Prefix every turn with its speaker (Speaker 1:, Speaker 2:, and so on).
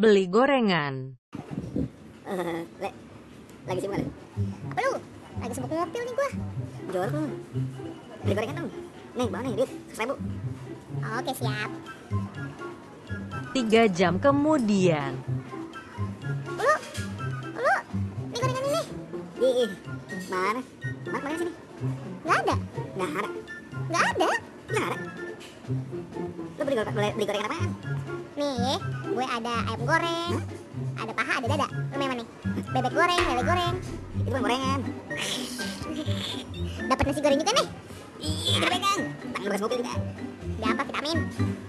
Speaker 1: Beli gorengan.
Speaker 2: Eh, Le, lagi sibuk kan?
Speaker 3: Apa lu? Lagi sibuk ngopil nih gua.
Speaker 2: Jorok lu. Beli gorengan dong. Nih, bawa nih duit. 100 ribu.
Speaker 3: Oke, siap.
Speaker 1: Tiga jam kemudian.
Speaker 3: Lu, lu, ini gorengan ini.
Speaker 2: Ih, ih. mana? Mana kemarin sini?
Speaker 3: Gak ada,
Speaker 2: Nggak ada.
Speaker 3: gak ada.
Speaker 2: Nggak ada. Lu beli, gore- beli, beli gorengan apaan?
Speaker 3: Nih, gue ada ayam goreng, ada paha, ada dada. Lu mau yang mana? Bebek goreng, lele goreng.
Speaker 2: Itu bukan gorengan.
Speaker 3: Dapat nasi goreng juga nih.
Speaker 2: Ih, gorengan. Tangan bekas mobil kita.
Speaker 3: Dapat vitamin.